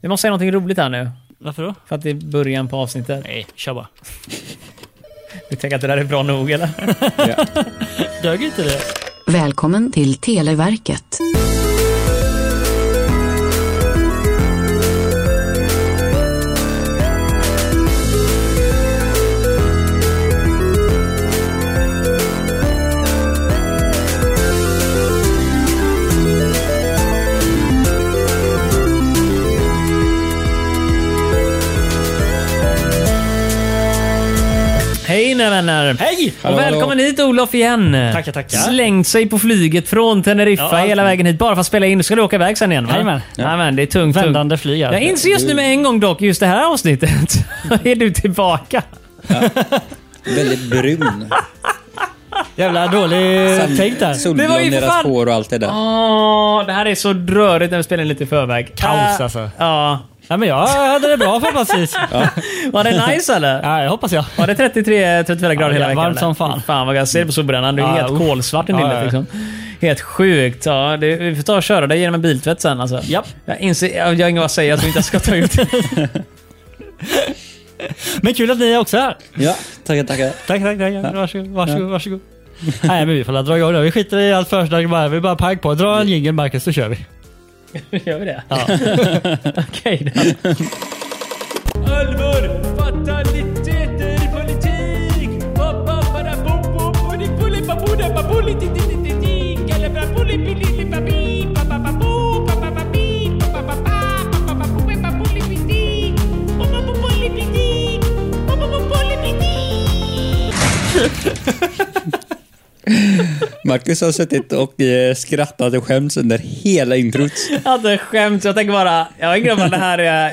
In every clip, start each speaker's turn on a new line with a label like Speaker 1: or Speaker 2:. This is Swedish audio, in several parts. Speaker 1: Vi måste säga någonting roligt här nu.
Speaker 2: Varför då?
Speaker 1: För att det är början på avsnittet.
Speaker 2: Nej, kör bara.
Speaker 1: Du tänker att det där är bra nog eller?
Speaker 2: Dög inte det?
Speaker 3: Välkommen till Televerket.
Speaker 1: Hej mina vänner!
Speaker 2: Hej!
Speaker 1: Och välkommen hit Olof igen!
Speaker 2: Tackar, tackar.
Speaker 1: Slängt sig på flyget från Teneriffa
Speaker 2: Ja,
Speaker 1: hela vägen hit bara för att spela in. Nu ska du åka iväg sen igen va?
Speaker 2: Jajamän.
Speaker 1: Jajamän, det är tungt. tungt.
Speaker 2: Vändande flyg
Speaker 1: Jag
Speaker 2: alltså.
Speaker 1: inser just nu med en gång dock, just det här avsnittet, är du tillbaka.
Speaker 4: Väldigt brun.
Speaker 2: Jävla dålig tänk där.
Speaker 4: Solblonderat
Speaker 1: fan-
Speaker 4: hår och allt det där.
Speaker 1: Åh, det här är så rörigt när vi spelar in lite i förväg.
Speaker 2: Kaos,
Speaker 1: Äh,
Speaker 2: alltså.
Speaker 1: Ja.
Speaker 2: Nej men jag hade det bra förhoppningsvis. Ja.
Speaker 1: Var det nice eller?
Speaker 2: ja, det hoppas jag.
Speaker 1: Var det 33-34 grader
Speaker 2: Ja,
Speaker 1: hela
Speaker 2: det är
Speaker 1: veckan?
Speaker 2: varmt
Speaker 1: eller?
Speaker 2: som fan.
Speaker 1: Fan vad jag ser det på solbrännan. Du är
Speaker 2: Ja,
Speaker 1: helt
Speaker 2: uff.
Speaker 1: kolsvart i
Speaker 2: Ja,
Speaker 1: nyllet
Speaker 2: ja, ja.
Speaker 1: liksom. Helt sjukt. Ja, det, vi får ta och köra dig genom en biltvätt sen alltså.
Speaker 2: Japp.
Speaker 1: Jag inser... Jag, jag har inget vad att säga. Jag tror inte jag ska ta ut
Speaker 2: Men kul att ni är också här.
Speaker 4: Ja, tackar, tackar.
Speaker 2: Tack, tack, tack. Varsågod, varsågod, varsågod. Nej men vi får la dra igång då. Vi skiter i allt försnack bara. Vi bara pang på. Dra en jingel Marcus så kör vi.
Speaker 1: Gör vi det? Ja. Okej då. Allvar, fataliteter, politik!
Speaker 4: Marcus har suttit och eh, skrattat och skämts under hela introt.
Speaker 1: Alltså skämt, jag tänker bara... Jag har glömt att det här är...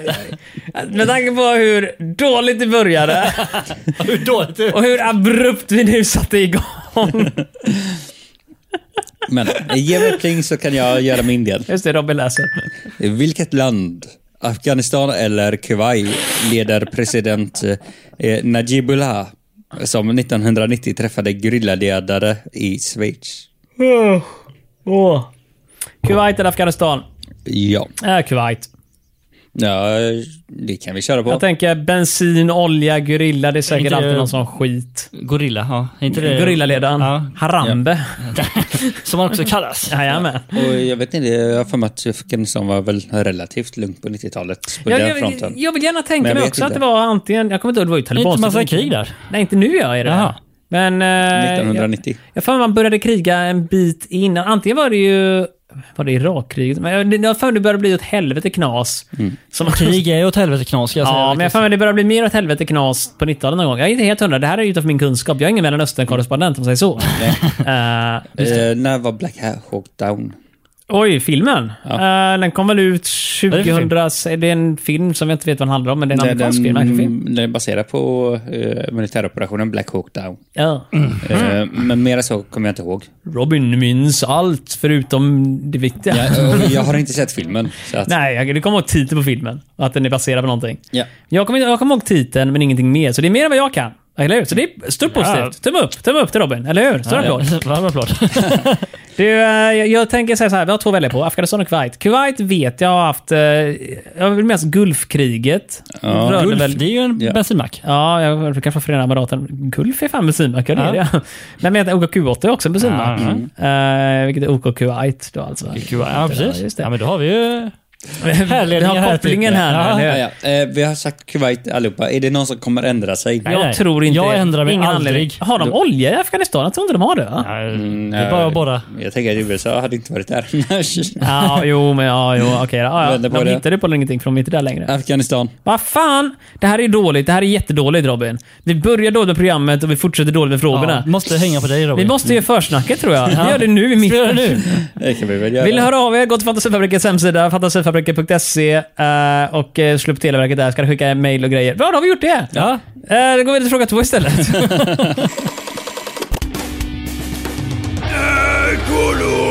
Speaker 1: Med tanke på hur dåligt det började
Speaker 2: Hur dåligt du
Speaker 1: och hur abrupt vi nu satte igång.
Speaker 4: Men ge mig pling så kan jag göra min del.
Speaker 1: Just det, Robin läser.
Speaker 4: Vilket land, Afghanistan eller Kuwait, leder president eh, Najibullah som 1990 träffade gerilladödare i Schweiz?
Speaker 1: Åh. Kuwait eller Afghanistan?
Speaker 4: Ja.
Speaker 1: Äh, Kuwait.
Speaker 4: ja, eh, det kan vi köra
Speaker 1: Jag
Speaker 4: på.
Speaker 1: tänker bensin, olja, gorilla. Det är säkert
Speaker 2: Inte-
Speaker 1: alltid någon sån skit.
Speaker 2: Gorilla, ja. Inte det?
Speaker 1: Gorillaledaren.
Speaker 2: Ja.
Speaker 1: Harambe.
Speaker 2: Som han också kallas.
Speaker 1: Jajamän.
Speaker 4: Och jag vet inte, jag har för mig att Afghanistan var väl relativt lugnt på 90-talet på
Speaker 1: Jag,
Speaker 4: den
Speaker 1: jag,
Speaker 4: fronten.
Speaker 1: jag vill gärna
Speaker 4: Men
Speaker 1: tänka
Speaker 4: jag
Speaker 1: mig
Speaker 4: vet
Speaker 1: också
Speaker 4: inte.
Speaker 1: att det var antingen... Jag kommer inte ihåg, det var ju
Speaker 2: Det är
Speaker 1: taliban.
Speaker 2: inte massa krig där.
Speaker 1: Nej, inte nu gör jag det.
Speaker 2: Jaha.
Speaker 1: Men... Eh,
Speaker 4: 1990.
Speaker 1: Jag, jag för mig man började kriga en bit innan. Antingen var det ju... Var det Irakkriget? Men jag- jag har för mig det började bli åt helvete knas. Som
Speaker 2: Mm. Krig är ju åt helvete knas ska jag säga.
Speaker 1: Ja, men jag har för mig det börjar bli mer åt helvete knas på 90-talet någon gång. Jag är inte helt hundra. Det här är utanför min kunskap. Jag är ingen Mellanöstern-korrespondent om man säger så. Eh,
Speaker 4: Eh, när var Black Hawk Down?
Speaker 1: Oj, filmen? Eh, den kom väl ut
Speaker 2: är det för
Speaker 1: 2000... Det är, en film som jag inte vet vad den handlar om, men det är en
Speaker 4: Nej,
Speaker 1: amerikansk film. en actionfilm.
Speaker 4: mm, den är baserad på eh, militäroperationen Black Hawk Down.
Speaker 1: Ja.
Speaker 2: Mm.
Speaker 4: Eh, men mera så kommer jag inte ihåg.
Speaker 1: Robin minns allt förutom det viktiga.
Speaker 4: Jag, och jag har inte sett filmen. Så att,
Speaker 1: Nej, jag, du kommer ihåg titeln på filmen. Och att den är baserad på någonting.
Speaker 4: Ja.
Speaker 1: Jag kommer jag kommer ihåg titeln, men ingenting mer. Så det är mer än vad jag kan. Eller hur? Så det är stort positivt. Tumme upp, tumme upp till Robin. Eller hur? Stor applåd.
Speaker 2: Varm applåd.
Speaker 1: Du, eh, jag, jag tänker säga så här, vi har två att välja på. Afghanistan och Kuwait. Kuwait vet jag har haft... eh, Jag vill minnas Gulfkriget.
Speaker 4: Ja.
Speaker 1: Rörde
Speaker 2: Gulf,
Speaker 1: väl-
Speaker 2: det är ju en
Speaker 4: Ja.
Speaker 2: bensinmack.
Speaker 1: Ja, jag jag kanske från Förenade Emiraten. Gulf är fan bensinmack, ja det är
Speaker 2: Ja.
Speaker 1: det. Nej men jag heter OKQ8 är också en bensinmack.
Speaker 2: Ja, mm.
Speaker 1: Eh, vilket är OK Kuwait då alltså.
Speaker 2: Ja,
Speaker 1: Ja,
Speaker 2: precis.
Speaker 1: just det.
Speaker 2: Ja, men då har vi ju...
Speaker 1: Vi
Speaker 2: härledningar
Speaker 1: har
Speaker 2: här
Speaker 1: kopplingen
Speaker 2: till-
Speaker 1: här nu,
Speaker 2: Ja.
Speaker 1: eller
Speaker 4: Ja,
Speaker 1: hur?
Speaker 4: ja. Eh, vi har sagt Kuwait allihopa. Är det någon som kommer ändra sig?
Speaker 2: Nej,
Speaker 1: Jag
Speaker 2: nej.
Speaker 1: tror inte
Speaker 2: Jag
Speaker 1: det.
Speaker 2: ändrar mig aldrig.
Speaker 1: anledning. Har de olja i Afghanistan? Jag tror inte de har det va?
Speaker 2: Ja,
Speaker 4: Mm,
Speaker 2: det är bara
Speaker 4: eh,
Speaker 2: att borra.
Speaker 4: Jag tänker att USA hade inte varit där annars.
Speaker 1: Ja, jo, men ja, jo, okej. Ja, ja.
Speaker 4: Vänder på
Speaker 1: De
Speaker 4: det.
Speaker 1: hittade på ingenting för de är inte där längre.
Speaker 4: Afghanistan.
Speaker 1: Vad fan! Det här är dåligt. Det här är jättedåligt Robin. Vi börjar dåligt med programmet och vi fortsätter dåligt med
Speaker 2: Ja,
Speaker 1: frågorna.
Speaker 2: måste hänga på dig Robin.
Speaker 1: vi måste ge försnacket tror jag. Vi gör det nu i
Speaker 2: Ska vi göra
Speaker 1: mitten.
Speaker 2: det nu?
Speaker 4: Det kan vi väl göra.
Speaker 1: Vill ni höra av er, gå till Fantasifabrikens hemsida, fantasifabriken.se eh, och eh, slå upp Televerket där. Ska ni skicka mejl och grejer. Bra, då har vi gjort det!
Speaker 2: Ja.
Speaker 1: Eh, Då går vi till fråga två istället.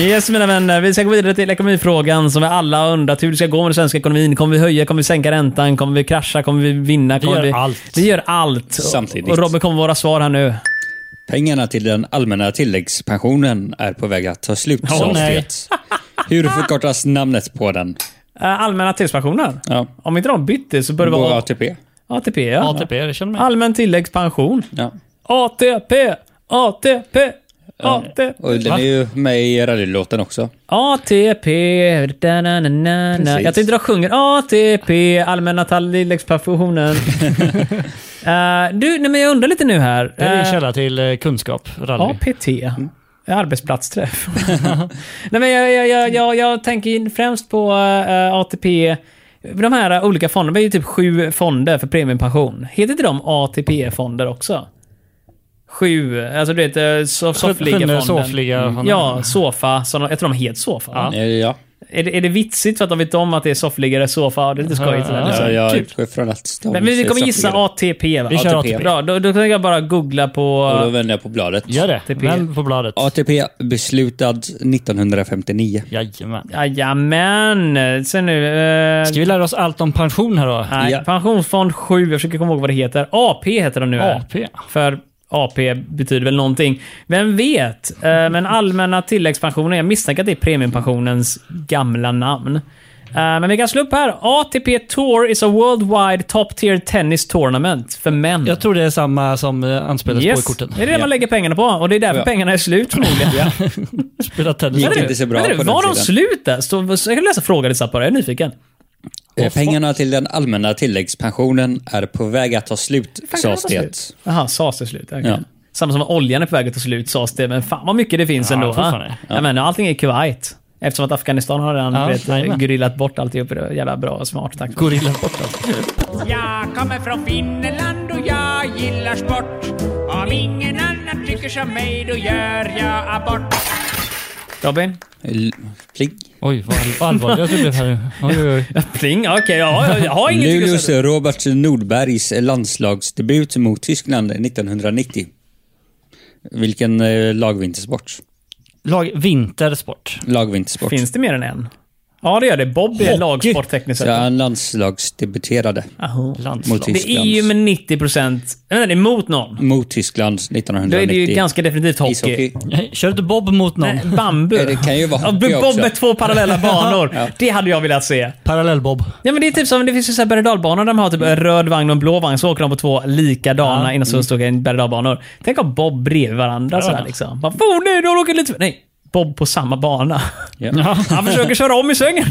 Speaker 1: Yes mina vänner, vi ska gå vidare till ekonomifrågan som vi alla har undrat hur det ska gå med den svenska ekonomin. Kommer vi höja? Kommer vi sänka räntan? Kommer vi krascha? Kommer vi vinna? Kommer
Speaker 2: gör allt.
Speaker 1: Vi gör allt.
Speaker 4: Samtidigt.
Speaker 1: Och Robin kommer våra svar här nu.
Speaker 4: Pengarna till den allmänna tilläggspensionen är på väg att ta slut,
Speaker 2: Åh,
Speaker 4: sades
Speaker 2: nej.
Speaker 4: det. Hur förkortas namnet på den?
Speaker 1: Eh, Allmänna tilläggspensionen.
Speaker 4: Ja,
Speaker 1: Om inte de bytte så bör det
Speaker 4: vår
Speaker 1: vara
Speaker 4: ATP.
Speaker 1: ATP. Ja.
Speaker 2: ATP, det känner man.
Speaker 1: Allmän tilläggspension.
Speaker 4: Ja.
Speaker 1: ATP! ATP!
Speaker 4: Och
Speaker 1: ATP!
Speaker 4: den är ju med i rallylåten också.
Speaker 1: ATP! da, na, na, na, na.
Speaker 4: Precis.
Speaker 1: Jag tyckte de sjunger ATP, allmänna tilläggspensionen. Eh, du, nej, men jag undrar lite nu här.
Speaker 2: Det är en
Speaker 1: Eh,
Speaker 2: källa till eh, kunskap, rally.
Speaker 1: APT.
Speaker 4: Mm.
Speaker 1: Arbetsplatsträff. Nej, men jag, jag, jag, jag, jag tänker ju främst på eh, ATP. De här eh, olika fonderna, det är ju typ sju fonder för premiepension. Heter inte de ATP-fonder också? Sju, alltså du vet eh, so-
Speaker 2: Sjunde
Speaker 1: soffligafonden.
Speaker 2: soffliga honom.
Speaker 1: Ja, Sofa. Så de, jag tror de heter Sofa. va?
Speaker 4: Eh, Ja,
Speaker 1: Är, det, är det vitsigt för att de vet om att det är soffliggare, sofa? Det är lite skojigt.
Speaker 2: Ja,
Speaker 1: eller?
Speaker 2: ja,
Speaker 1: Så,
Speaker 4: ja jag
Speaker 1: kul.
Speaker 4: utgår från att de
Speaker 1: Men vi
Speaker 4: ser
Speaker 1: kommer gissa
Speaker 4: soffligare.
Speaker 1: ATP va?
Speaker 2: Vi kör ATP.
Speaker 1: Bra, då, då kan jag bara googla på...
Speaker 4: Och då vänder jag på bladet.
Speaker 2: Gör det.
Speaker 1: ATP.
Speaker 2: Vänd på bladet.
Speaker 4: ATP beslutad 1959.
Speaker 2: Jajamän.
Speaker 1: Jajamän! Se nu. Eh,
Speaker 2: Ska vi lära oss allt om pension här då?
Speaker 1: nej,
Speaker 4: Ja.
Speaker 1: Pensionsfond 7, jag försöker komma ihåg vad det heter. AP heter de nu. här.
Speaker 2: AP.
Speaker 1: För AP betyder väl någonting. Vem vet? Eh, men allmänna tilläggspensionen, jag misstänker att det är premiepensionens gamla namn. Eh, men vi kan slå upp här. ATP Tour is a worldwide top tier tennis tournament för män.
Speaker 2: Jag tror det är samma som eh, anspelas på i
Speaker 1: yes.
Speaker 2: korten.
Speaker 1: Det är det man lägger pengarna på och det är därför
Speaker 4: Ja.
Speaker 1: pengarna är slut förmodligen.
Speaker 2: Spela tennis.
Speaker 4: Gick
Speaker 1: Men du,
Speaker 4: inte så bra
Speaker 1: men du,
Speaker 4: på den
Speaker 1: Var de
Speaker 4: tiden.
Speaker 1: slut där? Så- så Jag kan läsa frågan i Zappara, jag är nyfiken.
Speaker 4: Eh, Pengarna till den allmänna tilläggspensionen är på väg att ta slut,
Speaker 1: Fan,
Speaker 4: sades
Speaker 1: kan det vara
Speaker 4: det.
Speaker 1: slut? Jaha, sas det slut? Okej.
Speaker 4: Ja.
Speaker 1: Samma som att oljan är på väg att ta slut sas det, men fan vad mycket det finns
Speaker 2: Ja,
Speaker 1: ändå. Va?
Speaker 2: fortfarande.
Speaker 1: Ja. men allting är Kuwait. Eftersom att Afghanistan har redan
Speaker 2: Ja,
Speaker 1: vet,
Speaker 2: jajamän.
Speaker 1: grillat bort alltihop. Det är Jävla bra och smart. Tack.
Speaker 2: Gorilla borta.
Speaker 5: Jag kommer från Finland och jag gillar sport. Om ingen annan tycker som mig då gör jag abort.
Speaker 1: Robin?
Speaker 4: L- Pling.
Speaker 2: Oj, vad all- vad allvarligt jag blev här nu. Oj, oj, oj.
Speaker 1: Pling? Okej, ja, jag, jag har ingenting att
Speaker 4: Luleås
Speaker 1: säga.
Speaker 4: Robert Nordbergs landslagsdebut mot Tyskland 1990. Vilken eh, lagvintersport?
Speaker 2: Lag vintersport.
Speaker 4: Lagvintersport.
Speaker 1: Finns det mer än en? Ja, det gör det. Bob är lagsport tekniskt
Speaker 4: Så
Speaker 1: sett.
Speaker 4: han landslagsdebuterade
Speaker 1: Aha.
Speaker 2: Landslag.
Speaker 4: mot
Speaker 1: Det
Speaker 4: Tyskland.
Speaker 1: är ju med 90 procent... Jag menar, det är mot någon.
Speaker 4: Mot Tyskland
Speaker 1: Då
Speaker 4: 1990.
Speaker 1: är det ju ganska definitivt hockey.
Speaker 4: Ishockey.
Speaker 2: Nej, Kör inte Bob mot någon.
Speaker 1: Nej, bambu.
Speaker 4: Det kan ju vara
Speaker 1: Ja,
Speaker 4: hockey
Speaker 1: Bob
Speaker 4: också.
Speaker 1: med två parallella banor. Det hade jag velat se.
Speaker 2: Parallell-Bob.
Speaker 1: Ja, men det är typ som, det finns ju så här berg och dalbanor där de har typ en röd vagn och en blå vagn, så åker de på två likadana
Speaker 2: Ja.
Speaker 1: innan så står det en berg och dalbanor. Tänk om Bob bredvid varandra sådär liksom. Bara, oh, nej, du har åkt lite... Nej, Bob på samma bana.
Speaker 4: Ja.
Speaker 1: Han försöker köra om i svängen.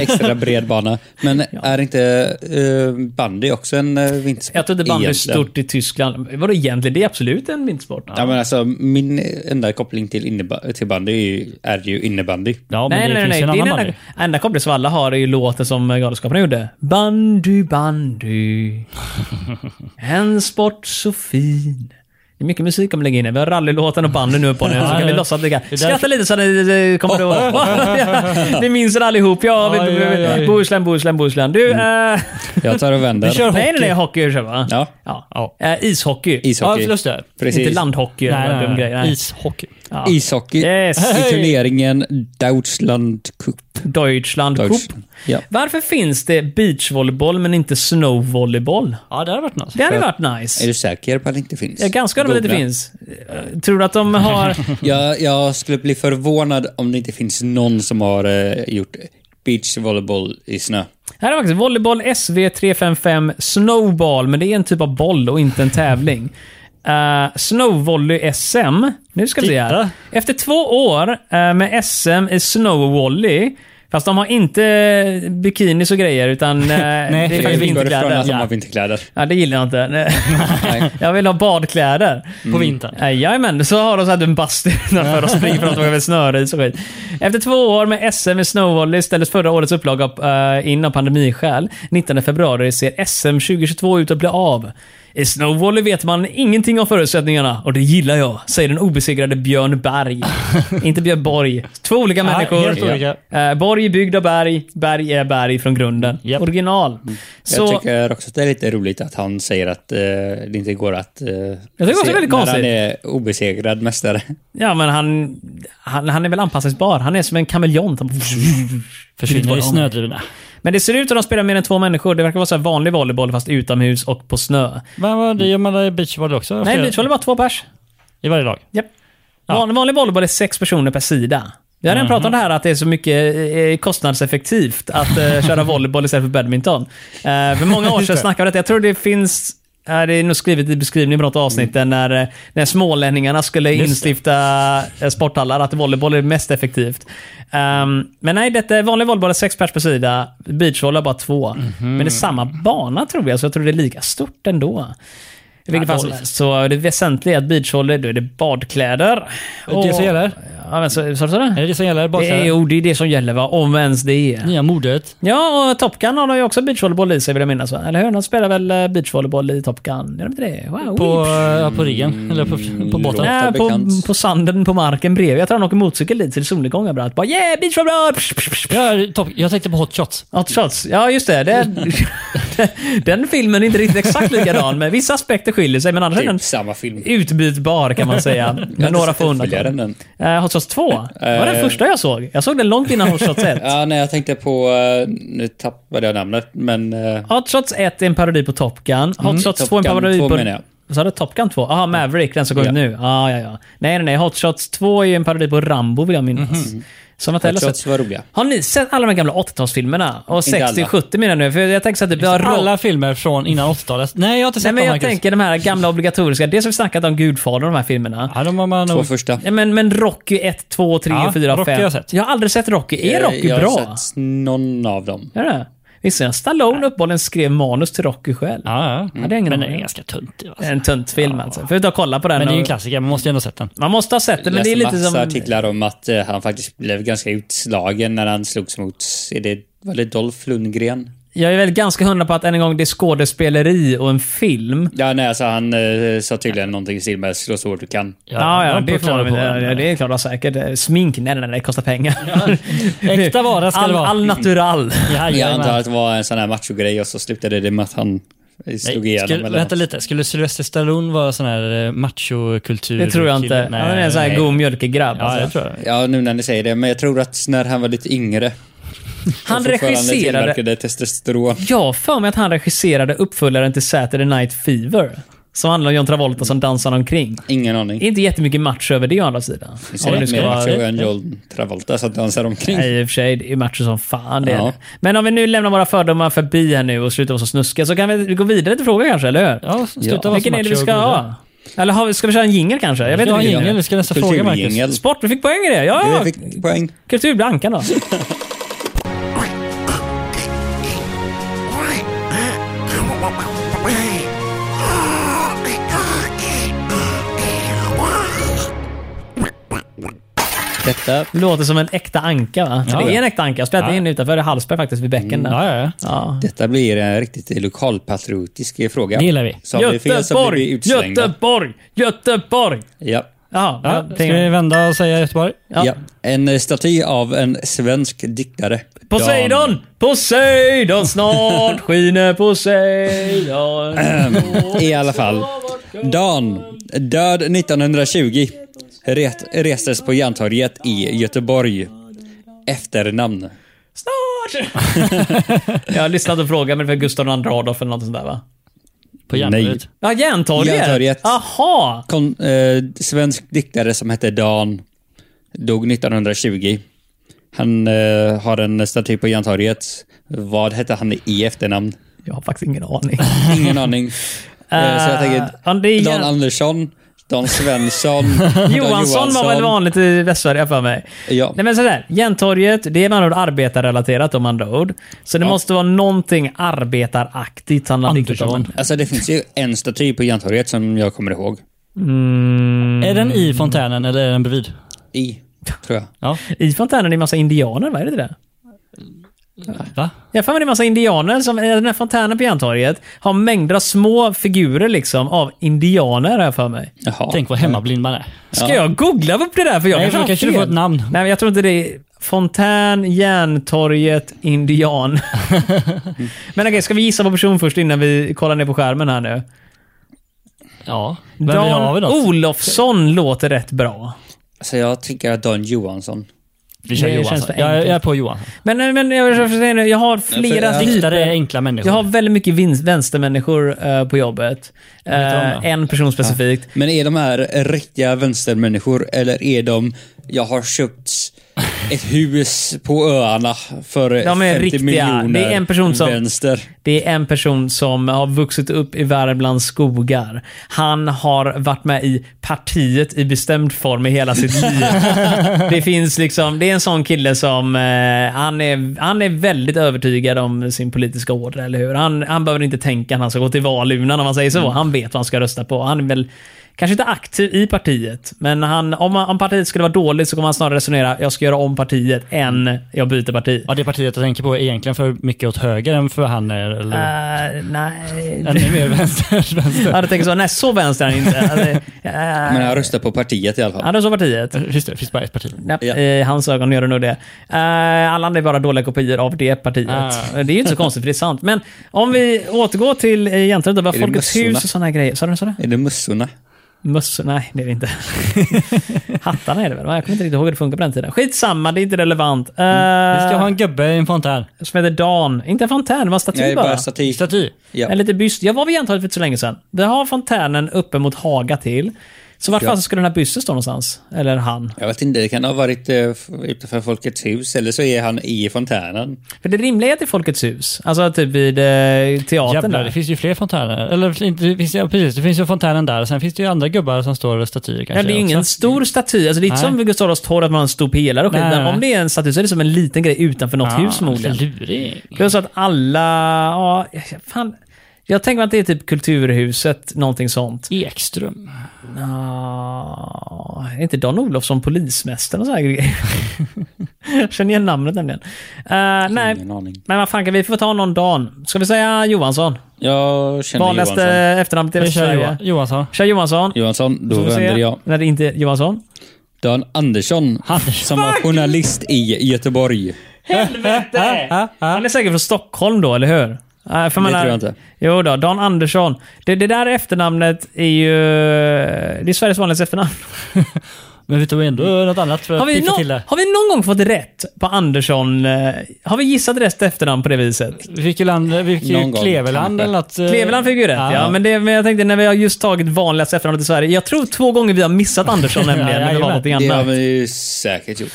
Speaker 4: Extra bred bana. Men är inte eh, bandy också en eh, vintersport?
Speaker 1: Jag tror inte bandy är
Speaker 4: egentligen?
Speaker 1: stort i Tyskland. Vadå egentligen? Det är absolut en vintersport.
Speaker 4: Ja, men alltså, min enda koppling till, inneba- till bandy är ju, är ju innebandy.
Speaker 2: Ja, men
Speaker 1: nej,
Speaker 2: det
Speaker 1: nej,
Speaker 2: finns
Speaker 1: nej.
Speaker 2: ju en
Speaker 1: Det är
Speaker 2: annan
Speaker 1: den enda,
Speaker 2: bandy.
Speaker 1: enda kompis som alla har är ju låten som Galenskaparna gjorde. Bandy, bandy. En sport så fin. Det är mycket musik om lägger in. här. Vi har rallylåten och bandy nu på nu. Så kan vi låtsas att det kan.
Speaker 2: Det där- Oh.
Speaker 1: Skratta lite så ni eh, kommer ihåg. Ni minns det allihop. Ja, vet,
Speaker 2: Aj, aj, aj.
Speaker 1: Bohuslän, Bohuslän, Bohuslän. Du, eh, nej,
Speaker 4: Jag tar och vänder.
Speaker 2: Vi kör hockey.
Speaker 1: nej, nej, hockey kör va?
Speaker 4: Ja.
Speaker 1: ja. Eh, ishockey.
Speaker 4: Ishockey.
Speaker 2: Ja, just det.
Speaker 4: Precis.
Speaker 1: Inte landhockey.
Speaker 2: Nej,
Speaker 1: eller vad
Speaker 2: nej,
Speaker 1: dum
Speaker 2: nej.
Speaker 1: grej. nej.
Speaker 2: Ishockey.
Speaker 1: Ja.
Speaker 4: Ishockey
Speaker 1: Yes.
Speaker 4: i turneringen Deutschland Cup.
Speaker 1: Deutschland
Speaker 4: Deutsch.
Speaker 1: Cup.
Speaker 4: Ja.
Speaker 1: Varför finns det beachvolleyboll men inte snowvolleyboll?
Speaker 2: Ja, det hade varit något.
Speaker 1: Det hade
Speaker 4: För-
Speaker 1: varit
Speaker 4: Är
Speaker 1: nice.
Speaker 4: du säker på att det inte finns?
Speaker 1: Jag är ganska övertygad om att det finns.
Speaker 4: Googla.
Speaker 1: Eh, Tror du att de har...
Speaker 4: Jag, jag skulle bli förvånad om det inte finns någon som har eh, gjort beachvolleyboll i snö.
Speaker 1: Här är faktiskt volleyboll SV355 Snowball, men det är en typ av boll och inte en tävling. Uh, Snowvolley SM. Nu ska vi se här.
Speaker 2: Titta.
Speaker 1: Efter två år eh, med SM i snowvolley, fast de har inte bikinis och grejer, utan eh, det är faktiskt
Speaker 4: utgår ifrån
Speaker 1: vinterkläder.
Speaker 4: att de har
Speaker 1: Ja.
Speaker 4: vinterkläder.
Speaker 1: ja, det gillar jag inte. Nej.
Speaker 4: Nej.
Speaker 1: jag vill ha badkläder.
Speaker 2: På vintern.
Speaker 1: Eh, Jajamän, så har de så här en bastu för att springa fram och tillbaka med snöris och skit. Efter två år med SM i snowvolley ställdes förra årets upplaga uh, in av pandemiskäl. 19 februari ser SM 2022 ut att bli av. I snowvolley vet man ingenting om förutsättningarna och det gillar jag, säger den obesegrade Björn Berg. Inte Björn Borg. Två olika
Speaker 2: Nej,
Speaker 1: människor.
Speaker 2: helt olika.
Speaker 1: Eh, Borg är byggd av berg, berg är berg från grunden.
Speaker 2: Japp. Mm.
Speaker 1: Original.
Speaker 4: Jag
Speaker 1: Så,
Speaker 4: tycker också att det är lite roligt att han säger att eh, det inte går att... Eh, jag
Speaker 1: tycker också det är väldigt
Speaker 4: När
Speaker 1: konstigt.
Speaker 4: han är obesegrad mästare.
Speaker 1: ja men han, han, han är väl anpassningsbar. Han är som en kameleont. Han-
Speaker 2: Försvinner i snödrivorna.
Speaker 1: Men det ser ut som de spelar mer än två människor. Det verkar vara så här vanlig volleyboll fast utomhus och på snö.
Speaker 2: Men vad, det gör man i beachvolley också?
Speaker 1: Nej, beachvolley är bara två pers.
Speaker 2: i varje lag.
Speaker 1: Japp. Van, vanlig volleyboll är sex personer per sida. Vi har redan pratat om det här att det är så mycket eh, kostnadseffektivt att eh, köra volleyboll istället för badminton. Eh, för många år sedan snackade vi om detta. Jag tror det finns eh, det är nog skrivet i beskrivningen på något avsnitt där när, eh, när smålänningarna skulle instifta eh, sporthallar, att volleyboll är mest effektivt. Ehm, men nej, detta är vanlig volleyboll är sex pers per sida, beachvolley är bara två. Men det är samma bana tror jag, så jag tror det är lika stort ändå. I vilket fall som helst, så det väsentliga är att beachvolley, då är det badkläder.
Speaker 2: det som
Speaker 1: Och-
Speaker 2: gäller?
Speaker 1: Ja, men så, så, så
Speaker 2: Är det det som gäller?
Speaker 1: det är,
Speaker 2: Baksätet?
Speaker 1: jo, det är det som gäller va, om ens det är.
Speaker 2: Nya modet.
Speaker 1: Ja, och Top Gun har de ju också beachvolleyboll i sig vill jag minnas va? Eller hur? De spelar väl eh, beachvolleyboll i Top Gun? Gör de inte det? Wow.
Speaker 2: På, ja, på riggen. Eller på,
Speaker 1: Mm.
Speaker 2: på båten.
Speaker 1: Nej,
Speaker 4: låter
Speaker 1: på,
Speaker 4: bekant.
Speaker 1: på sanden på marken bredvid. Jag tror han åker motorcykel dit så det är solnedgång överallt. Bara yeah, beachvolleyboll! Psh, psh, psh, psh.
Speaker 2: Ja, topp. Jag tänkte på hot shots.
Speaker 1: Hot shots. Ja, just det. Den, den filmen är inte riktigt exakt likadan, men vissa aspekter skiljer sig. Men annars är den
Speaker 4: Typ samma film.
Speaker 1: utbytbar kan man säga. Med några få undantag.
Speaker 4: den.
Speaker 1: Eh, Hot Shots 2. Det var den
Speaker 4: Eh.
Speaker 1: första jag såg. Jag såg den långt innan Hot Shots 1.
Speaker 4: Ja, nej, jag tänkte på... eh, Nu tappade jag namnet, men... eh,
Speaker 1: Hot Shots 1 är en parodi på Top Gun. Hot Shots
Speaker 4: Mm, Top
Speaker 1: 2 är en
Speaker 4: Gun
Speaker 1: parodi
Speaker 4: 2
Speaker 1: på...
Speaker 4: menar jag.
Speaker 1: Vad sa du? Top Gun 2? Jaha, Maverick, den som går ut
Speaker 4: Ja.
Speaker 1: nu. Ah, ja, ja. Nej, nej, nej. Hot Shots 2 är ju en parodi på Rambo, vill jag minnas. Som att
Speaker 4: Mhm. Hot Shots var roliga.
Speaker 1: Har ni sett alla de här gamla 80-talsfilmerna? Och
Speaker 4: Inte alla.
Speaker 1: 60-70 menar jag nu. För jag tänker så att typ, vi har Rock- Mm.
Speaker 2: Alla filmer från innan 80-talet. Nej, jag har inte
Speaker 1: Nej,
Speaker 2: sett
Speaker 1: men
Speaker 2: dem
Speaker 1: jag
Speaker 2: Marcus.
Speaker 1: tänker de här gamla obligatoriska. Det som vi snackat om, Gudfadern och de här filmerna.
Speaker 2: Ja, de har man
Speaker 4: Två
Speaker 2: nog...
Speaker 4: första.
Speaker 1: Ja, men, men Rocky 1, 2, 3,
Speaker 2: Ja,
Speaker 1: 4, 5.
Speaker 2: Rocky har jag sett.
Speaker 1: Jag har aldrig sett Rocky. Är Rocky
Speaker 4: Eh, jag
Speaker 1: bra?
Speaker 4: Jag har sett någon av dem.
Speaker 1: Är det? Visserligen, Stallone uppehålligen skrev manus till Rocky själv.
Speaker 2: Ja, ja.
Speaker 1: Ja, det är ingen
Speaker 2: Men
Speaker 1: aning.
Speaker 2: den är ganska töntig.
Speaker 1: Det är
Speaker 2: Alltså.
Speaker 1: en tunt film alltså. Förutom att kolla på den.
Speaker 2: Men det är ju en
Speaker 1: och-
Speaker 2: klassiker, man måste ju ändå ha sett den.
Speaker 1: Man måste ha sett det,
Speaker 4: Jag
Speaker 1: men
Speaker 4: läste
Speaker 1: det är lite
Speaker 4: massa
Speaker 1: som...
Speaker 4: artiklar om att eh, han faktiskt blev ganska utslagen när han slogs mot, är det, var det Dolph Lundgren?
Speaker 1: Jag är väl ganska hundra på att än en gång det är skådespeleri och en film.
Speaker 4: Ja, nej, alltså han eh, sa tydligen någonting i stil med slå så hårt du kan.
Speaker 1: Ja, ja,
Speaker 2: de
Speaker 1: det,
Speaker 2: pucklar
Speaker 1: får de,
Speaker 2: på den.
Speaker 1: ja, det är klart de säkert. Eh, Smink? Nej, nej, nej, det kostar pengar.
Speaker 2: Äkta vara ska
Speaker 1: all,
Speaker 2: det vara.
Speaker 1: All natural.
Speaker 4: Jag antar
Speaker 2: Jajamän.
Speaker 4: att det var en sån här machogrej och så slutade det med att han eh, slog
Speaker 2: Nej,
Speaker 4: igenom.
Speaker 2: skulle,
Speaker 4: eller
Speaker 2: vänta
Speaker 4: något.
Speaker 2: lite, skulle Sylvester Stallone vara sån här eh, machokultur?
Speaker 1: Det tror jag
Speaker 2: kille?
Speaker 1: inte. Han är en sån här
Speaker 2: nej.
Speaker 1: god mjölkegrabb.
Speaker 2: Ja, jag
Speaker 1: alltså.
Speaker 2: tror det.
Speaker 4: Ja, nu när ni säger det, men jag tror att när han var lite yngre
Speaker 1: Han
Speaker 4: och fortfarande
Speaker 1: regisserade...
Speaker 4: tillverkade testosteron.
Speaker 1: Jag har för mig att han regisserade uppföljaren till Saturday Night Fever. Som handlar om John Travolta som dansar omkring.
Speaker 4: Ingen aning.
Speaker 1: Inte jättemycket match över det å andra sidan.
Speaker 4: Det
Speaker 1: Om
Speaker 4: är
Speaker 1: det
Speaker 4: säkert
Speaker 1: ska
Speaker 4: mer
Speaker 1: vara-
Speaker 4: macho än John Travolta så att han ser omkring.
Speaker 1: Nej, i och för sig. Det är matcher som fan. Det är
Speaker 4: Ja.
Speaker 1: det. Men om vi nu lämnar våra fördomar förbi här nu och slutar vara så snuskiga så kan vi gå vidare till frågan kanske, eller hur?
Speaker 2: Ja, sluta vara
Speaker 1: Vilken
Speaker 2: så
Speaker 1: är det vi
Speaker 2: macho
Speaker 1: ska
Speaker 2: och god.
Speaker 1: ha? Eller har vi, ska vi köra en jingel kanske? Jag vet
Speaker 2: Ja,
Speaker 1: inte. vilken.
Speaker 2: jingel. Vi ska nästa fråga, Marcus.
Speaker 4: Kulturjingel.
Speaker 1: Sport, vi fick poäng i det. Ja,
Speaker 4: Vi fick poäng.
Speaker 1: kultur blir ankan då.
Speaker 4: Detta
Speaker 1: Låter som en äkta anka va?
Speaker 2: Ja.
Speaker 1: Det är en äkta anka. Jag spelade in utanför Hallsberg faktiskt, vid bäcken där.
Speaker 2: Mm, Ja, ja, ja.
Speaker 1: Ja.
Speaker 4: Detta blir en riktigt lokalpatriotisk fråga.
Speaker 2: Det gillar vi.
Speaker 4: Så har vi fel så blir
Speaker 1: Göteborg!
Speaker 4: vi utslängda.
Speaker 1: Göteborg! Göteborg!
Speaker 4: Ja.
Speaker 1: Jaha,
Speaker 2: Ja,
Speaker 1: jag
Speaker 2: ska
Speaker 1: tänker-
Speaker 2: vi vända och säga Göteborg?
Speaker 1: Ja.
Speaker 4: Ja. En eh, staty av en svensk diktare.
Speaker 1: Poseidon! Poseidon! Snart skiner Poseidon.
Speaker 4: Dan. I alla fall. Dan, död 1920, ret, restes på Järntorget i Göteborg. Efternamn.
Speaker 1: Snart! jag har lyssnat och frågat, men det var Gustav II Adolf eller något sånt där va?
Speaker 2: På
Speaker 4: Nej.
Speaker 2: Järntorget?
Speaker 1: Ja, Järntorget.
Speaker 4: Järntorget.
Speaker 1: Jaha!
Speaker 4: Kon, eh, svensk diktare som hette Dan, dog 1920. Han eh, har en staty på Järntorget. Vad hette han i efternamn?
Speaker 1: Jag har faktiskt ingen aning.
Speaker 4: Ingen aning. Eh, så jag
Speaker 1: ja, det är
Speaker 4: tänker, Dan
Speaker 1: jä-
Speaker 4: Andersson, Dan Svensson, Dan
Speaker 1: Johansson var väl vanligt i Västsverige för mig.
Speaker 4: Ja.
Speaker 1: Nej men sådär, Järntorget, det är med andra ord arbetarrelaterat om andra ord. Så det måste vara någonting arbetaraktigt han har diktat om.
Speaker 2: Andersson.
Speaker 4: Alltså det finns ju en staty på Järntorget som jag kommer ihåg.
Speaker 1: Mm.
Speaker 2: Är den i fontänen eller är den bredvid?
Speaker 4: I, tror jag.
Speaker 2: Ja.
Speaker 1: I fontänen är det en massa indianer, vad är det inte det?
Speaker 2: Va?
Speaker 1: Jag har för mig det är en massa indianer som i den här fontänen på Järntorget har mängder av små figurer liksom av indianer här för mig.
Speaker 4: Jaha.
Speaker 2: Tänk vad hemmablind man är.
Speaker 1: Ska jag googla upp det där? För jag
Speaker 2: Nej, för då
Speaker 1: har
Speaker 2: kanske du
Speaker 1: fel.
Speaker 2: får ett namn.
Speaker 1: Nej, men jag tror inte det är Fontän, Järntorget, Indian. men okej, ska vi gissa på person först innan vi kollar ner på skärmen här nu?
Speaker 2: Ja. Men vi har väl
Speaker 1: Dan
Speaker 2: något?
Speaker 1: Olofsson låter rätt bra.
Speaker 4: Så jag tänker att Dan Johansson.
Speaker 2: Vi kör
Speaker 1: Det känns
Speaker 2: Johansson.
Speaker 1: för
Speaker 2: Jag, jag
Speaker 1: enkelt.
Speaker 2: är på Johan.
Speaker 1: Men, nej, men jag, jag, säger nu, jag har flera
Speaker 4: att
Speaker 2: Diktare är
Speaker 1: typer.
Speaker 2: enkla människor.
Speaker 1: eh, Jag har väldigt mycket vins- vänstermänniskor eh, på jobbet. Eh,
Speaker 2: om det.
Speaker 1: en person specifikt.
Speaker 4: Men är de här riktiga vänstermänniskor eller är de, jag har köpt ett hus på öarna för
Speaker 1: De är
Speaker 4: 50
Speaker 1: riktiga.
Speaker 4: miljoner
Speaker 1: Det är en person som-
Speaker 4: vänster.
Speaker 1: Det är en person som har vuxit upp i Värmlands skogar. Han har varit med i partiet i bestämd form i hela sitt liv. Det finns liksom, det är en sån kille som, eh, han, är, han är väldigt övertygad om sin politiska order, eller hur? Han, han behöver inte tänka när han ska gå till valurnan om man säger så. Han vet vad han ska rösta på. Han är väl Kanske inte aktiv i partiet, men han, om, han- om partiet skulle vara dåligt så kommer han snarare resonera jag ska göra om partiet än jag byter parti.
Speaker 2: Ja, det partiet jag tänker på är egentligen för mycket åt höger än för han är. Eller
Speaker 1: Eh, nej.
Speaker 2: ännu mer vänster. vänster.
Speaker 1: Ja, du tänker så. Nej, så vänster är han inte. Alltså, eh,
Speaker 4: Men jag röstar på partiet i alla fall.
Speaker 1: han är så partiet.
Speaker 2: Just det, det finns bara ett parti.
Speaker 1: Nej,
Speaker 4: Ja.
Speaker 1: I hans ögon gör det nog det. Eh, alla andra är bara dåliga kopior av det partiet.
Speaker 2: Ah.
Speaker 1: Det är ju inte så konstigt, för det är sant. Men om vi återgår till eh, egentligen det var
Speaker 4: det
Speaker 1: Folkets
Speaker 4: mössorna?
Speaker 1: hus och sådana grejer. Sa du så?
Speaker 4: Är det mössorna?
Speaker 1: Mössor? Nej, det är det inte. Hattarna är det väl? va? Jag kommer inte riktigt ihåg hur det funkar på den tiden. Skitsamma, det är inte relevant. Eh,
Speaker 2: Vi ska
Speaker 4: Mm.
Speaker 2: ha en gubbe i en fontän.
Speaker 1: Som heter Dan. Inte en fontän, det var en staty
Speaker 4: Nej,
Speaker 1: bara.
Speaker 4: bara stativ.
Speaker 2: Staty.
Speaker 4: Ja.
Speaker 1: En lite byst. Jag var vid Järntorget för inte så länge sedan. Vi har fontänen uppe mot Haga till. Så vart
Speaker 4: Ja.
Speaker 1: fan skulle den här bysten stå någonstans? Eller han?
Speaker 4: Jag vet inte, det kan ha varit eh, f- utanför Folkets hus eller så är han i fontänen.
Speaker 1: För det rimliga är att det är Folkets hus. Alltså typ vid eh, teatern
Speaker 2: Jävlar, det
Speaker 1: där.
Speaker 2: finns ju fler fontäner. Eller inte, det finns, ja, precis, det finns ju fontänen där. Sen finns det ju andra gubbar som står och statyer kanske.
Speaker 1: Ja, det är ju ingen
Speaker 2: också.
Speaker 1: stor staty. Alltså, det är inte
Speaker 2: Nej.
Speaker 1: som vid Gustav Adolfs torg att man har en stor pelare och skit.
Speaker 2: Nej,
Speaker 1: Men
Speaker 2: nej.
Speaker 1: om det är en staty så är det som en liten grej utanför något hus förmodligen.
Speaker 2: Lurig.
Speaker 1: Plus att alla... Ja, fan. Jag tänker mig att det är typ Kulturhuset, någonting sånt.
Speaker 2: Ekström.
Speaker 1: Ja, Ah, är inte Dan Olofsson polismästare och sådana grejer? Jag Känner igen namnet nämligen. Eh, nej,
Speaker 4: Ingen aning.
Speaker 1: men vad fan kan vi få ta någon Dan? Ska vi säga Johansson?
Speaker 4: Jag känner
Speaker 1: Vanligaste
Speaker 4: Johansson.
Speaker 1: efternamnet i
Speaker 2: Vi kör
Speaker 1: Västsverige.
Speaker 2: Johan, Johansson.
Speaker 1: Kör Johansson.
Speaker 4: Johansson, då
Speaker 1: Ska vi se.
Speaker 4: vänder jag.
Speaker 1: Nej, det är inte Johansson.
Speaker 4: Dan Andersson, som var journalist i Göteborg.
Speaker 1: Helvete! Han är säkert från Stockholm då, eller hur? Nej, ah, för man
Speaker 4: tror
Speaker 1: är-
Speaker 4: jag inte.
Speaker 1: Jo då, Dan Andersson. Det, det där efternamnet är ju... Det är Sveriges vanligaste efternamn.
Speaker 2: Men vi tog ändå något annat för
Speaker 1: Har
Speaker 2: att
Speaker 1: vi,
Speaker 2: piffa till
Speaker 1: nå-
Speaker 2: det.
Speaker 1: har vi någon gång fått rätt på Andersson? eh, Har vi gissat rätt efternamn på det viset?
Speaker 2: Vi fick ju, land, vi fick
Speaker 4: Någon
Speaker 2: ju
Speaker 4: gång,
Speaker 2: Kleveland
Speaker 4: kanske.
Speaker 2: eller något. eh,
Speaker 1: Kleveland fick ju rätt, ja. Men, det, men jag tänkte när vi har just tagit vanligaste efternamnet i Sverige. Jag tror två gånger vi har missat Andersson nämligen. när det var
Speaker 2: jajamän.
Speaker 1: någonting
Speaker 4: Det har
Speaker 1: annat.
Speaker 4: vi ju säkert gjort.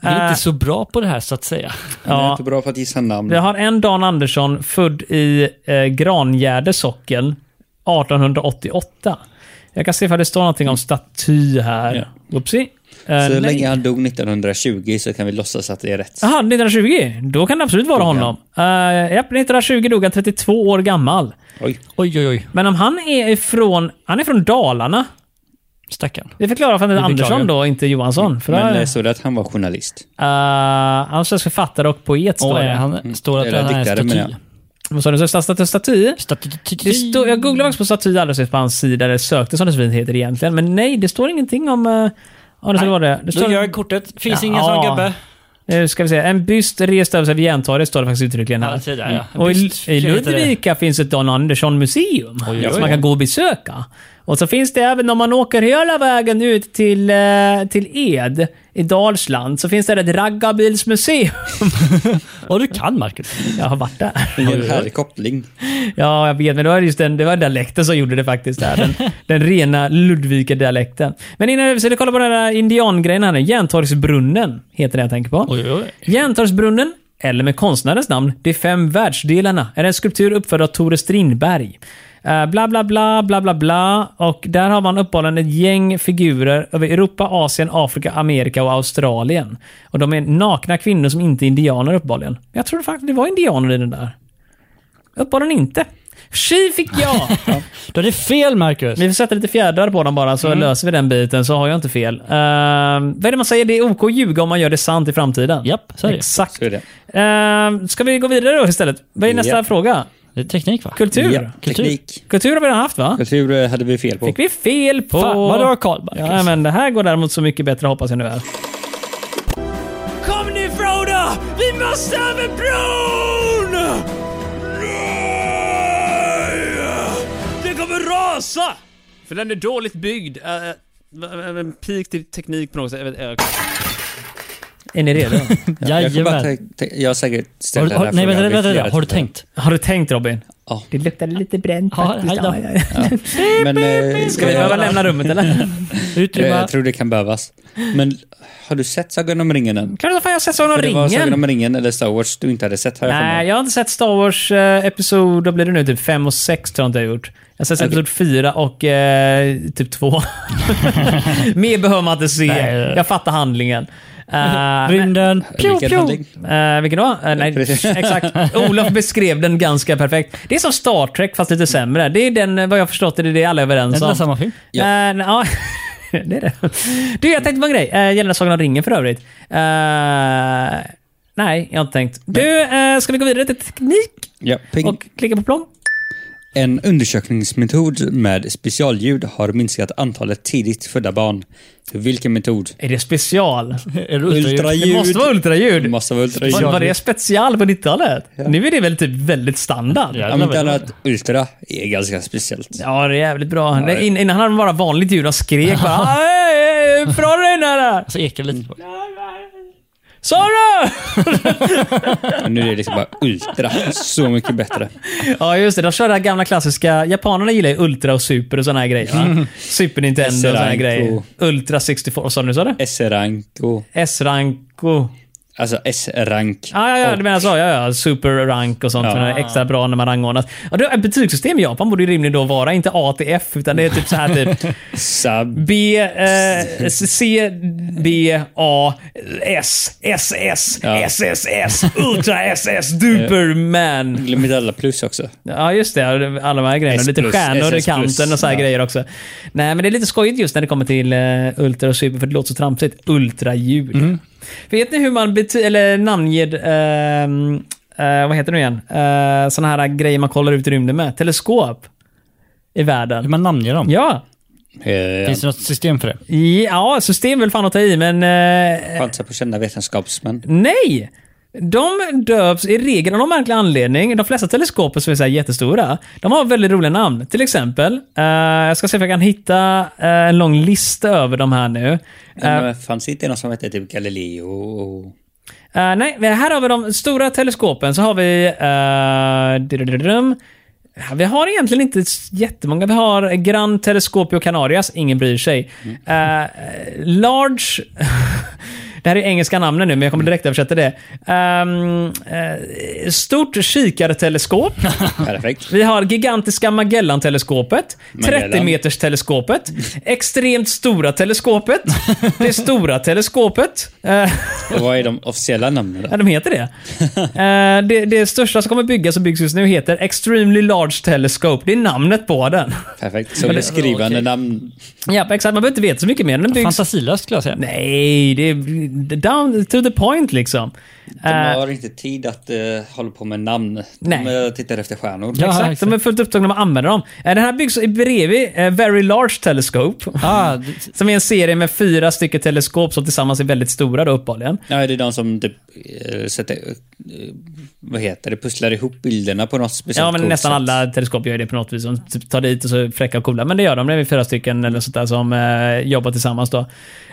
Speaker 2: Vi är inte så bra på det här så att säga.
Speaker 4: Jag är
Speaker 1: Ja.
Speaker 4: inte bra på att gissa namn.
Speaker 1: Vi har en Dan Andersson född i eh, Grangärde socken 1888. Jag kan se ifall det står någonting om staty här. Oopsie. Eh,
Speaker 4: Så
Speaker 1: nej.
Speaker 4: länge han dog 1920 så kan vi låtsas att det är rätt.
Speaker 1: Jaha, 1920? Då kan det absolut vara honom. Uh, japp, 1920 dog han 32 år gammal.
Speaker 4: Oj.
Speaker 2: Oj, oj, oj.
Speaker 1: Men om han är ifrån, han är från Dalarna.
Speaker 2: Stackarn.
Speaker 1: Det förklarar varför han heter
Speaker 2: Det beklagar
Speaker 1: Andersson då, inte Johansson. För
Speaker 4: Men
Speaker 1: men,
Speaker 4: eh, så det att han var journalist?
Speaker 1: han är svensk författare och poet står
Speaker 2: Och
Speaker 1: det. Mm.
Speaker 2: eh, han står att
Speaker 4: Eller
Speaker 2: han är en
Speaker 4: diktare, menar
Speaker 2: staty.
Speaker 4: jag.
Speaker 1: Vad sa du? Staty? staty? Det
Speaker 2: Staty.
Speaker 1: stod, jag googlade faktiskt på staty alldeles nyss på hans sida, eller sökte som det så fint heter egentligen. Men nej, det står ingenting om... eh, Ja, det skulle vara det. det
Speaker 2: Då
Speaker 1: står,
Speaker 2: gör jag kortet. Finns
Speaker 1: Ja.
Speaker 2: ingen sån gubbe.
Speaker 1: Nu ska vi se. En byst rest över sig vid Järntorget står det faktiskt uttryckligen här.
Speaker 2: Ja, se där, ja. En
Speaker 1: Och i,
Speaker 2: byst
Speaker 1: i
Speaker 2: heter det.
Speaker 1: Ludvika finns ett Dan Andersson-museum
Speaker 2: oj,
Speaker 1: som
Speaker 2: oj.
Speaker 1: man kan gå och besöka. Och så finns det även om man åker hela vägen ut till, eh, till Ed i Dalsland så finns det ett raggarbilsmuseum.
Speaker 2: Och du kan Marcus.
Speaker 1: Jag har varit där.
Speaker 4: Ingen härlig koppling.
Speaker 1: Ja, jag vet, men det var just den, det var dialekten som gjorde det faktiskt. Där. Den, den rena Ludvika-dialekten. Men innan vi skulle kolla på den här indiangrejen här nu. Järntorgsbrunnen heter det jag tänker på.
Speaker 2: Oj, oj, oj.
Speaker 1: Järntorgsbrunnen, eller med konstnärens namn, De fem världsdelarna, är en skulptur uppförd av Tore Strindberg. Eh, Bla, bla, bla, bla, bla, bla. Och där har man uppehållen ett gäng figurer över Europa, Asien, Afrika, Amerika och Australien. Och de är nakna kvinnor som inte är indianer uppehållen. Jag trodde faktiskt det var indianer i den där. Uppehållen inte. Tji fick jag!
Speaker 2: Då är det fel Marcus.
Speaker 1: Vi får sätta lite fjädrar på dem bara så löser vi den biten så har jag inte fel. Eh, vad är det man säger? Det är OK att ljuga om man gör det sant i framtiden.
Speaker 2: Japp, så är det.
Speaker 1: Exakt.
Speaker 4: Så är det.
Speaker 1: Ehm, ska vi gå vidare då istället? Vad är nästa
Speaker 4: Ja.
Speaker 1: fråga?
Speaker 2: Det är teknik va?
Speaker 1: Kultur?
Speaker 4: Ja, teknik.
Speaker 1: Kultur har vi redan haft va?
Speaker 4: Kultur eh, hade vi fel på.
Speaker 1: Fick vi fel på...
Speaker 2: Fan vad du har koll Marcus.
Speaker 1: Ja, men det här går däremot så mycket bättre hoppas jag nu är. Kom nu Frodo! Vi måste över bron! Den kommer rasa! För den är Äh, dåligt byggd. Uh, en peak till teknik på något sätt. Är ni redo?
Speaker 4: Jag, kan bara
Speaker 2: Jajamän.
Speaker 4: tänk- tänk- jag har säkert
Speaker 2: Har,
Speaker 4: ställt
Speaker 2: du- har,
Speaker 4: den
Speaker 2: nej,
Speaker 4: här
Speaker 2: vänta,
Speaker 4: frågan vid
Speaker 2: vänta,
Speaker 4: flera
Speaker 2: vänta. Har du
Speaker 4: tillfällen.
Speaker 2: tänkt?
Speaker 1: Har du tänkt Robin?
Speaker 4: Ja.
Speaker 1: Det luktar lite bränt
Speaker 2: Ja, hej då.
Speaker 4: Men, eh,
Speaker 1: Ska vi behöva lämna rummet eller?
Speaker 4: jag,
Speaker 2: Utrymma.
Speaker 4: jag tror det kan behövas. Men har du sett Sagan om ringen än?
Speaker 1: Klart som fan jag har sett Sagan om
Speaker 4: För det var Sagan
Speaker 1: ringen.
Speaker 4: om ringen eller Star Wars du inte hade sett har jag för
Speaker 1: Nej,
Speaker 4: mig.
Speaker 1: jag har inte sett Star Wars eh, episod, vad blir det nu? Typ 5 och 6 tror jag inte jag har gjort. Jag har sett episod 4 och eh, typ 2. Mer behöver man inte se.
Speaker 2: Nej, nej, nej.
Speaker 1: Jag fattar handlingen. Eh,
Speaker 2: Rymden. Pju,
Speaker 4: Vilken
Speaker 2: pju.
Speaker 4: handling?
Speaker 1: Eh, vilken då? Eh, nej,
Speaker 4: Precis.
Speaker 1: exakt. Olof beskrev den ganska perfekt. Det är som Star Trek fast lite sämre. Det är den, eh, vad jag förstått, det är det alla är
Speaker 2: Är
Speaker 1: överens
Speaker 2: det
Speaker 1: om.
Speaker 2: där samma film?
Speaker 1: Ja.
Speaker 4: Ja.
Speaker 1: Eh, ja. det är det. Du, jag tänkte på en grej. Eh, gällande Sagan om ringen för övrigt. Eh, nej, Mm. jag har inte tänkt. Du, eh, ska vi gå vidare till teknik?
Speaker 4: Ja, ping.
Speaker 1: Och klicka på plong?
Speaker 4: En undersökningsmetod med specialljud har minskat antalet tidigt födda barn. Vilken metod?
Speaker 1: Är det special? Mm.
Speaker 2: Är det ultraljud?
Speaker 4: Ultraljud.
Speaker 1: Det måste vara
Speaker 4: Det
Speaker 1: ultraljud.
Speaker 4: måste vara ultraljud.
Speaker 1: Var, var det special på 90-talet? Nu är det väl typ väldigt standard?
Speaker 2: Ja.
Speaker 4: Om inte annat, ultra är ganska speciellt.
Speaker 1: Ja, det är jävligt bra. Det- in, innan hade de bara vanligt ljud. De skrek bara "Aj, aj, aj, Från dig där!
Speaker 2: Alltså ekar lite.
Speaker 1: Sa du?
Speaker 4: Men nu är det liksom bara ultra. Så mycket bättre.
Speaker 1: Ja, just det. De kör det här gamla klassiska. Japanerna gillar ju Ultra och Super och såna här grejer.
Speaker 4: Mm.
Speaker 1: va? Super Nintendo och såna här
Speaker 4: S-Rank
Speaker 1: grejer.
Speaker 4: och-
Speaker 1: Ultra 64. Vad sa du nu? Sa du?
Speaker 4: S-rank och...
Speaker 1: S-Ranko.
Speaker 4: Alltså S-rank.
Speaker 1: Ah, ja, ja, du menar så. Ja, ja. Super rank och sånt.
Speaker 4: Ja.
Speaker 1: som är Extra bra när man rangordnas. Ja, det, ett betygssystem i Japan borde ju rimligen då vara inte A till F, utan det är typ så här typ
Speaker 4: Sub.
Speaker 1: B, eh, C, B, A, S, SS,
Speaker 4: Ja.
Speaker 1: SSS, Ultra SS, Duperman.
Speaker 4: Glöm inte alla plus också.
Speaker 1: Ja, just det. Alla de här grejerna.
Speaker 4: S+,
Speaker 1: lite stjärnor i
Speaker 4: SS+,
Speaker 1: kanten och så här
Speaker 4: ja.
Speaker 1: grejer också. Nej, men det är lite skojigt just när det kommer till eh, Ultra och Super, för det låter så tramsigt. Ultraljud.
Speaker 4: Mm.
Speaker 1: Vet ni hur man bety- eller namnger... ehm, eh, vad heter det nu igen? Uh, såna här grejer man kollar ut i rymden med. Teleskop. I
Speaker 2: Hur
Speaker 4: Mm.
Speaker 1: världen.
Speaker 2: man namnger dem?
Speaker 1: Ja.
Speaker 4: Eh,
Speaker 2: Finns det något system för det?
Speaker 1: Ja, system vill fan att ta i, men... eh,
Speaker 4: Chansa på kända vetenskapsmän.
Speaker 1: Äh. Nej! De döps i regel av någon märklig anledning. De flesta teleskoper som är så här jättestora, de har väldigt roliga namn. Till exempel, eh, jag ska se om jag kan hitta eh, en lång lista över de här nu. Eh,
Speaker 4: Men fanns det inte någon som hette typ Galileo och...
Speaker 1: Eh, nej, men här har vi de stora teleskopen. Så har vi... eh, dudududum. Ja, vi har egentligen inte s- jättemånga. Vi har Grand Telescopio Canarias. Ingen bryr sig. Eh, large... Det här är engelska namnen nu, men jag kommer direkt översätta det. Ehm, eh, stort kikarteleskop.
Speaker 4: Perfekt.
Speaker 1: Vi har gigantiska Magellan-teleskopet,
Speaker 4: Magellan.
Speaker 1: 30-meters-teleskopet, extremt stora teleskopet, det stora teleskopet. Eh,
Speaker 4: Och vad är de officiella namnen
Speaker 1: Ja,
Speaker 4: då?
Speaker 1: de heter det. Eh, det. Det största som kommer byggas och byggs just nu heter Extremely Large Telescope. Det är namnet på den.
Speaker 4: Perfekt. Så beskrivande
Speaker 2: okej.
Speaker 4: namn.
Speaker 1: ja, exakt. Man behöver inte veta så mycket mer. Den byggs...
Speaker 2: Fantasilöst skulle jag säga.
Speaker 1: Nej, det är down to the point liksom.
Speaker 4: De
Speaker 1: Eh,
Speaker 4: har inte tid att eh, hålla på med namn. De
Speaker 1: Nej.
Speaker 4: eh, tittar efter stjärnor.
Speaker 2: Ja.
Speaker 1: Exakt, de är fullt upptagna med att använda dem. Eh, Den här byggs i bredvid eh, Very Large Telescope.
Speaker 2: Ah, d-
Speaker 1: Som är en serie med fyra stycken teleskop som tillsammans är väldigt stora då uppenbarligen.
Speaker 4: Ja, det är de som typ, eh, sätter, eh, vad heter det, pusslar ihop bilderna på något speciellt
Speaker 1: Ja, men
Speaker 4: coolt
Speaker 1: nästan
Speaker 4: sätt.
Speaker 1: alla teleskop gör det på något vis. De typ tar dit och så är fräcka och coola. Men det gör de. Det är fyra stycken eller sånt där som eh, jobbar tillsammans. Då.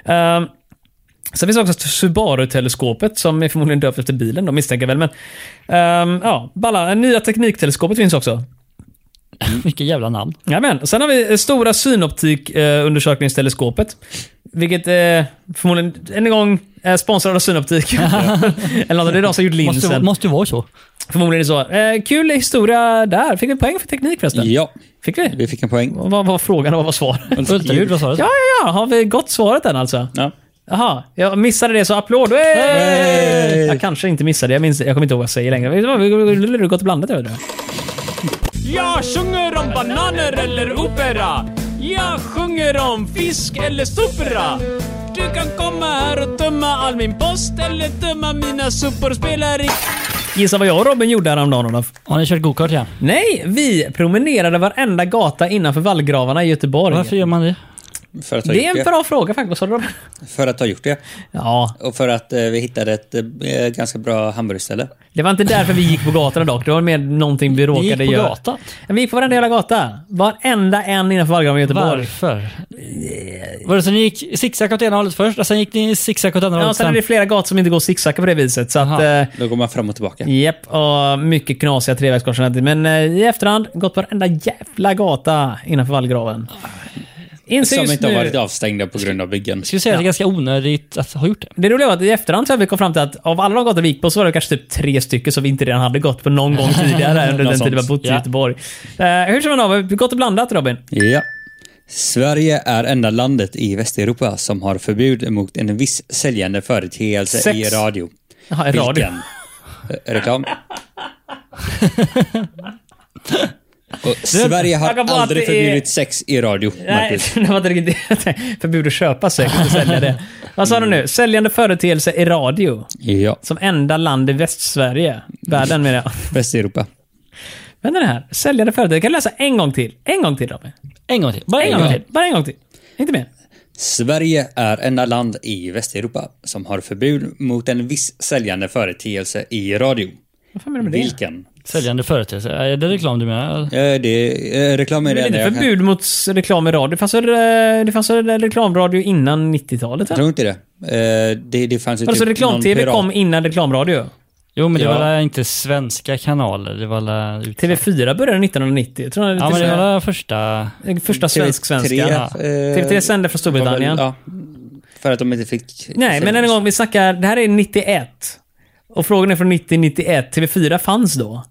Speaker 1: Ehm, sen finns också Subaru-teleskopet som är förmodligen döpt efter bilen. De misstänker väl. Men, ehm, ja, balla. Nya teknikteleskopet finns också.
Speaker 2: vilket jävla namn.
Speaker 1: Jajamän. Sen har vi eh, stora synoptikundersökningsteleskopet. vilket eh, förmodligen, än en gång, eh, sponsrad av Synoptik. Eller något, det är de som har gjort
Speaker 2: Måste,
Speaker 1: linsen.
Speaker 2: måste ju vara så.
Speaker 1: Förmodligen är det så. Eh, kul historia där. Fick vi poäng för teknik förresten?
Speaker 4: Ja,
Speaker 1: Fick vi?
Speaker 4: vi fick en poäng.
Speaker 1: Och Vad var frågan och vad var svaret?
Speaker 2: Ultraljud, vad sa du?
Speaker 1: Ja, ja, ja. Har vi gått svaret än alltså?
Speaker 4: Ja.
Speaker 1: Jaha, jag missade det så applåd. Hey!
Speaker 4: Hey!
Speaker 1: Jag kanske inte missade det. Jag, minns, jag kommer inte ihåg vad jag säger längre. Vet du vad? Vi vi- vi- Gott och blandat över det. Jag sjunger om bananer eller opera. Jag sjunger om fisk eller sopra. Du kan komma här och tömma all min post eller tömma mina sopor. Spelar i... Gissa vad jag och Robin gjorde häromdagen, Olof?
Speaker 2: Har ni kört gokart igen?
Speaker 1: Nej, vi promenerade varenda gata innanför vallgravarna i Göteborg.
Speaker 2: Varför gör man det?
Speaker 4: För att ha
Speaker 1: Det är
Speaker 4: gjort
Speaker 1: en
Speaker 4: det.
Speaker 1: bra fråga faktiskt. Vad sa du?
Speaker 4: För att ha gjort det.
Speaker 1: Ja,
Speaker 4: Och för att eh, vi hittade ett eh, ganska bra hamburgerställe.
Speaker 1: det var inte därför vi gick på gatorna dock. Det var mer någonting vi råkade
Speaker 2: gick på
Speaker 1: göra.
Speaker 2: gatan?
Speaker 1: Ja, Vi gick på varenda jävla gata. Varenda en innanför vallgraven i Göteborg.
Speaker 2: Varför? Var det så ni gick zigzag åt ena hållet först och sen gick ni zigzag åt andra
Speaker 1: Ja,
Speaker 2: hållet
Speaker 1: sen är
Speaker 2: sen?
Speaker 1: det flera gator som inte går zigzag på det viset. Så att,
Speaker 2: Aha.
Speaker 1: eh,
Speaker 4: Då går man fram och tillbaka.
Speaker 1: Japp, och mycket knasiga trevägskorsningar. alltid. Men eh, i efterhand, gått på varenda jävla gata innanför vallgraven. Inser
Speaker 4: Som
Speaker 1: just
Speaker 4: inte
Speaker 1: nu,
Speaker 4: har varit avstängda på grund av byggen.
Speaker 2: Jag skulle säga att det är ganska onödigt att ha gjort det.
Speaker 1: Det roliga var att i efterhand så har vi kom fram till att av alla de gator vi gick på så var det kanske typ tre stycken som vi inte redan hade gått på någon gång tidigare under den
Speaker 4: Något
Speaker 1: tid vi har
Speaker 4: sånt.
Speaker 1: bott i
Speaker 2: Ja.
Speaker 1: Göteborg. Eh, hur som helst, har vi gått och blandat Robin?
Speaker 4: Ja. Sverige är enda landet i Västeuropa som har förbud mot en viss säljande företeelse
Speaker 1: Sex.
Speaker 4: i radio.
Speaker 1: Jaha, i radio.
Speaker 4: Vilken? Eh, Reklam. Och Sverige har
Speaker 1: jag kan bara att
Speaker 4: aldrig
Speaker 1: det är-
Speaker 4: förbjudit sex i radio,
Speaker 1: Nej,
Speaker 4: Marcus.
Speaker 1: det var inte riktigt... Förbud att köpa sex och sälja det. Vad sa du
Speaker 4: Mm.
Speaker 1: nu? Säljande företeelse i radio.
Speaker 4: Ja,
Speaker 1: Som enda land i Västsverige. Världen menar jag.
Speaker 4: Västeuropa.
Speaker 1: Vänta det här. Säljande företag. Jag kan läsa en gång till. En gång till Robin.
Speaker 2: En gång till. Bara
Speaker 1: Bara en
Speaker 2: en
Speaker 1: gång
Speaker 2: gång
Speaker 1: till. Bara en gång till. Inte mer.
Speaker 4: Sverige är enda land i Västeuropa som har förbud mot en viss säljande företeelse i radio.
Speaker 1: Vad fan menar du med det?
Speaker 4: Vilken?
Speaker 2: Säljande företag. Är det reklam du menar?
Speaker 4: Eh, det, eh, reklam
Speaker 1: Det
Speaker 4: är det
Speaker 1: är
Speaker 4: enda
Speaker 1: inte
Speaker 4: jag kan-
Speaker 1: förbud mot s- reklam i radio. Det fanns, väl, eh, det fanns väl reklamradio innan 90-talet? va?
Speaker 4: Jag tror inte det. Eh, det, det fanns ju
Speaker 1: Alltså
Speaker 4: typ någon
Speaker 1: reklam-tv
Speaker 4: pirat-
Speaker 1: kom innan reklamradio.
Speaker 2: Jo, men det
Speaker 4: Ja.
Speaker 2: var väl inte svenska kanaler? Det var väl... ut-
Speaker 1: TV4 började 1990. Jag tror det är
Speaker 2: Ja,
Speaker 1: lite
Speaker 2: men det
Speaker 1: så-
Speaker 2: var väl första...
Speaker 1: den första
Speaker 4: TV3,
Speaker 1: svensk-svenskan.
Speaker 4: eh,
Speaker 1: TV3 sände från Storbritannien.
Speaker 4: var väl- ja, för att de inte fick...
Speaker 1: Nej, men en gång vi snackar, det här är 91. Och frågan är från 90-91. TV4 fanns då.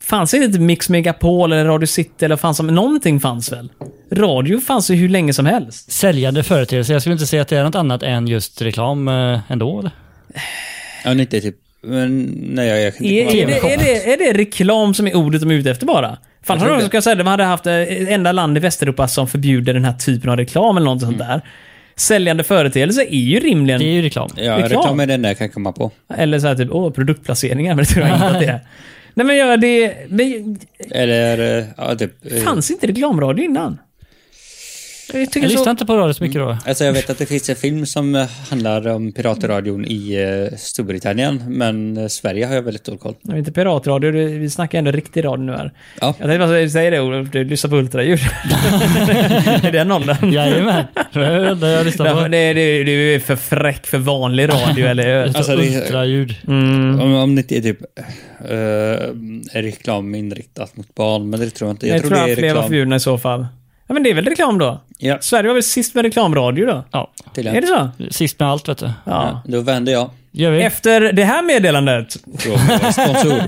Speaker 1: Fanns det inte Mix Megapol eller Radio City eller fanns som, någonting fanns väl? Radio fanns ju hur länge som helst.
Speaker 2: Säljande företeelse. Jag skulle inte säga att det är något annat än just reklam eh, ändå. Eller?
Speaker 4: Ja, men inte typ... Men, nej, jag, jag kan
Speaker 1: Är,
Speaker 4: inte
Speaker 1: är, det,
Speaker 4: komma ihåg.
Speaker 1: är, det, är det reklam som är ordet de är ute efter bara? Fan, hade
Speaker 4: tror
Speaker 1: de
Speaker 4: det.
Speaker 1: skulle säga det. Man hade haft eh, enda land i Västeuropa som förbjuder den här typen av reklam eller något sånt där. Säljande företeelse är ju rimligen...
Speaker 2: Det är ju reklam.
Speaker 4: Ja,
Speaker 1: reklam.
Speaker 4: reklam är det enda jag kan komma på.
Speaker 1: Eller så här typ, åh, produktplaceringar. Men det tror jag inte att det är. Nej men ja, det... Men,
Speaker 4: Eller, eh, ja, typ... eh,
Speaker 1: Fanns inte reklamradio innan? Jag tycker
Speaker 2: Jag lyssnar
Speaker 1: så...
Speaker 2: inte på radio så mycket då.
Speaker 4: Alltså jag vet att det finns en film som eh, handlar om piratradion i eh, Storbritannien, men eh, Sverige har jag väldigt dålig koll.
Speaker 1: Nej, inte piratradio, det- vi snackar ändå riktig radio nu här.
Speaker 4: Ja.
Speaker 1: Jag tänkte bara säga det Olof, du lyssnar på ultraljud. I den åldern.
Speaker 2: Jajamän. Det är det jag lyssnar
Speaker 1: Därför-
Speaker 2: på.
Speaker 1: det, det, du är för fräck för vanlig radio, eller hur?
Speaker 2: Alltså,
Speaker 4: Alltså, det-
Speaker 2: ultraljud.
Speaker 1: Mm.
Speaker 4: Om, om det inte är typ eh, reklam inriktat mot barn, men det tror jag inte. Jag,
Speaker 1: Jag tror
Speaker 4: tror det
Speaker 1: att
Speaker 4: är
Speaker 1: fler var
Speaker 4: reklam.
Speaker 1: förbjudna i så fall. Ja men det är väl reklam då?
Speaker 4: Ja.
Speaker 1: Sverige var väl sist med reklamradio då?
Speaker 2: Ja.
Speaker 4: Till
Speaker 1: Är det så?
Speaker 2: Sist med allt vet du.
Speaker 1: Ja.
Speaker 4: Ja, då vänder jag.
Speaker 2: Gör vi?
Speaker 1: Efter det här meddelandet.
Speaker 4: Från vår sponsor.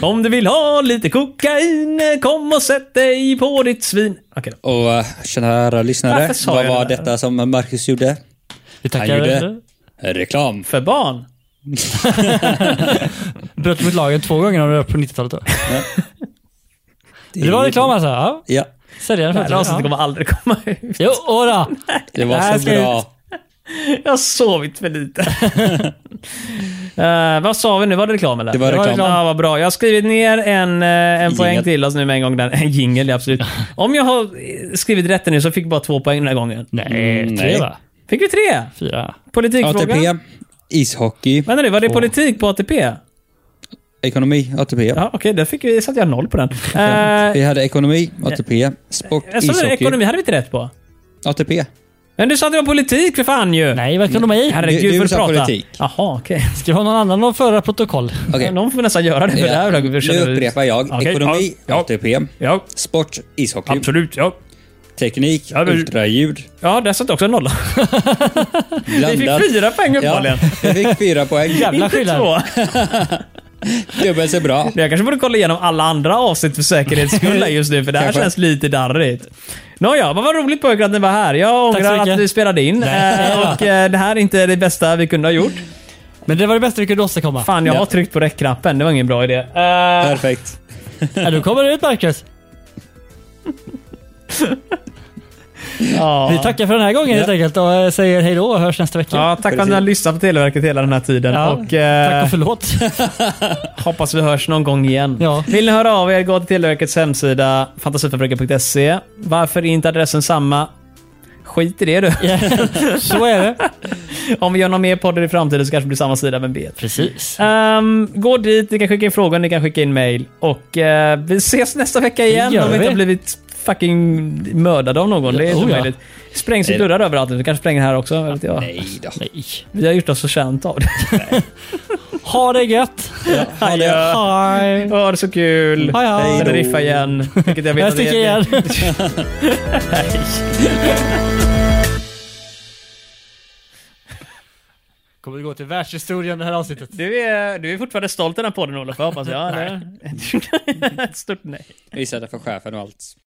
Speaker 1: Om du vill ha lite kokain, kom och sätt dig på ditt svin. Okej då.
Speaker 4: Och eh, kära lyssnare,
Speaker 1: Varför sa
Speaker 4: vad
Speaker 1: jag
Speaker 4: var
Speaker 1: det där?
Speaker 4: detta som Marcus gjorde?
Speaker 2: Vi
Speaker 4: Han
Speaker 2: tackar.
Speaker 4: gjorde reklam.
Speaker 1: För barn.
Speaker 2: Bröt mot lagen två gånger när du var på 90-talet. då. Det var reklam alltså? Ja.
Speaker 4: Ja,
Speaker 2: Säljaren
Speaker 1: Det här avsnittet
Speaker 2: faktiskt. Ja.
Speaker 1: kommer aldrig komma ut.
Speaker 2: Jo, åra.
Speaker 4: det
Speaker 2: Det
Speaker 4: var
Speaker 2: här
Speaker 4: så
Speaker 2: ska
Speaker 4: bra.
Speaker 2: ut.
Speaker 1: Jag har sovit för lite. Eh, vad sa vi nu? Var det reklam eller?
Speaker 4: Det var reklam.
Speaker 1: Ja, vad bra. Jag har skrivit ner en, eh, en poäng till oss nu med en gång. Där. En jingel, ja, absolut. Om jag har eh, skrivit rätt nu så fick vi bara två poäng den här gången.
Speaker 2: Mm, Nej, tre
Speaker 4: nej.
Speaker 2: va?
Speaker 1: Fick vi tre?
Speaker 2: Fyra.
Speaker 1: Politikfråga?
Speaker 4: ATP, ishockey,
Speaker 1: Vänta nu, var det politik på ATP?
Speaker 4: ekonomi, ATP.
Speaker 1: Ja, okej, där fick vi, satte jag noll på den. Eh,
Speaker 4: Vi hade ekonomi, ATP, sport,
Speaker 1: jag sa det,
Speaker 4: ishockey,
Speaker 1: ekonomi hade vi inte rätt på.
Speaker 4: ATP.
Speaker 1: Men du sa att det var politik för fan ju!
Speaker 2: Nej, vad kan de ha i?
Speaker 1: Herregud,
Speaker 4: Du- du
Speaker 1: får du
Speaker 4: sa
Speaker 1: prata?
Speaker 4: politik.
Speaker 1: Jaha, okej.
Speaker 2: Ska vi ha någon annan att föra protokoll?
Speaker 4: Okej.
Speaker 1: Någon får nästan göra det, för det här
Speaker 4: Ja.
Speaker 1: har vi-
Speaker 4: Nu upprepar jag.
Speaker 1: Okej,
Speaker 4: Ekonomi,
Speaker 1: ja, ja.
Speaker 4: ATP,
Speaker 1: Ja,
Speaker 4: sport, ishockey,
Speaker 1: absolut. Ja.
Speaker 4: teknik,
Speaker 1: Ja, men-
Speaker 4: ultraljud,
Speaker 1: Ja, där satt också en nolla. Vi fick
Speaker 4: blandat.
Speaker 1: fyra poäng uppenbarligen.
Speaker 4: Ja, jag fick fyra poäng.
Speaker 2: Jävla
Speaker 1: Inte
Speaker 2: skillnad.
Speaker 1: två.
Speaker 4: Dubbelt så bra.
Speaker 1: Jag kanske borde kolla igenom alla andra avsnitt för säkerhets skull just nu, för det här
Speaker 4: Kanske.
Speaker 1: känns lite darrigt. Nåja, men vad roligt pojkar att ni var här. Jag
Speaker 2: Tack så
Speaker 1: ångrar
Speaker 2: mycket.
Speaker 1: att vi spelade in.
Speaker 2: Nej.
Speaker 1: eh, Och eh, det här är inte det bästa vi kunde ha gjort.
Speaker 2: Men det var det bästa vi kunde åstadkomma.
Speaker 1: Fan, jag
Speaker 4: Ja.
Speaker 1: har tryckt på räckknappen. Det var ingen bra idé. Eh,
Speaker 4: Perfekt.
Speaker 2: Ja, nu kommer det ut Marcus.
Speaker 1: Ja.
Speaker 2: Vi tackar för den här gången helt enkelt och eh, säger hej då och hörs nästa vecka.
Speaker 1: Ja, tack för att ni har lyssnat på Televerket hela den här tiden.
Speaker 2: Ja,
Speaker 1: Och, eh,
Speaker 2: Tack och förlåt.
Speaker 1: Hoppas vi hörs någon gång igen.
Speaker 2: Ja.
Speaker 1: Vill ni höra av er, gå till Televerkets hemsida fantasiförbrukare.se. Varför är inte adressen samma? Skit i det du.
Speaker 2: Så är det.
Speaker 1: Om vi gör någon mer poddar i framtiden så kanske det blir samma sida, vem vet?
Speaker 2: Precis.
Speaker 1: Ehm, gå dit, ni kan skicka in frågor, ni kan skicka in mail. Och eh, vi ses nästa vecka igen
Speaker 2: gör
Speaker 1: om vi inte
Speaker 2: vi.
Speaker 1: har blivit fucking mördade av någon. Det är inte
Speaker 2: Oh, ja.
Speaker 1: möjligt. Sprängs ju
Speaker 4: Nej.
Speaker 1: dörrar överallt nu. Vi kanske spränger här också. Vet jag.
Speaker 4: Nej då.
Speaker 2: Nej.
Speaker 1: Vi har gjort oss förtjänt av det.
Speaker 2: Ha det gött!
Speaker 4: Ha det.
Speaker 2: Hej!
Speaker 1: Åh, det är så kul!
Speaker 2: Hej, hej.
Speaker 1: Sen riffa igen, vilket jag vet
Speaker 2: Jag
Speaker 1: att det är-
Speaker 2: sticker igen. Kommer du gå till världshistorien det här avsnittet?
Speaker 1: Du är, du är fortfarande stolt i den här podden Olof, hoppas jag. nej. Ett stort nej.
Speaker 4: Visade för chefen och allt.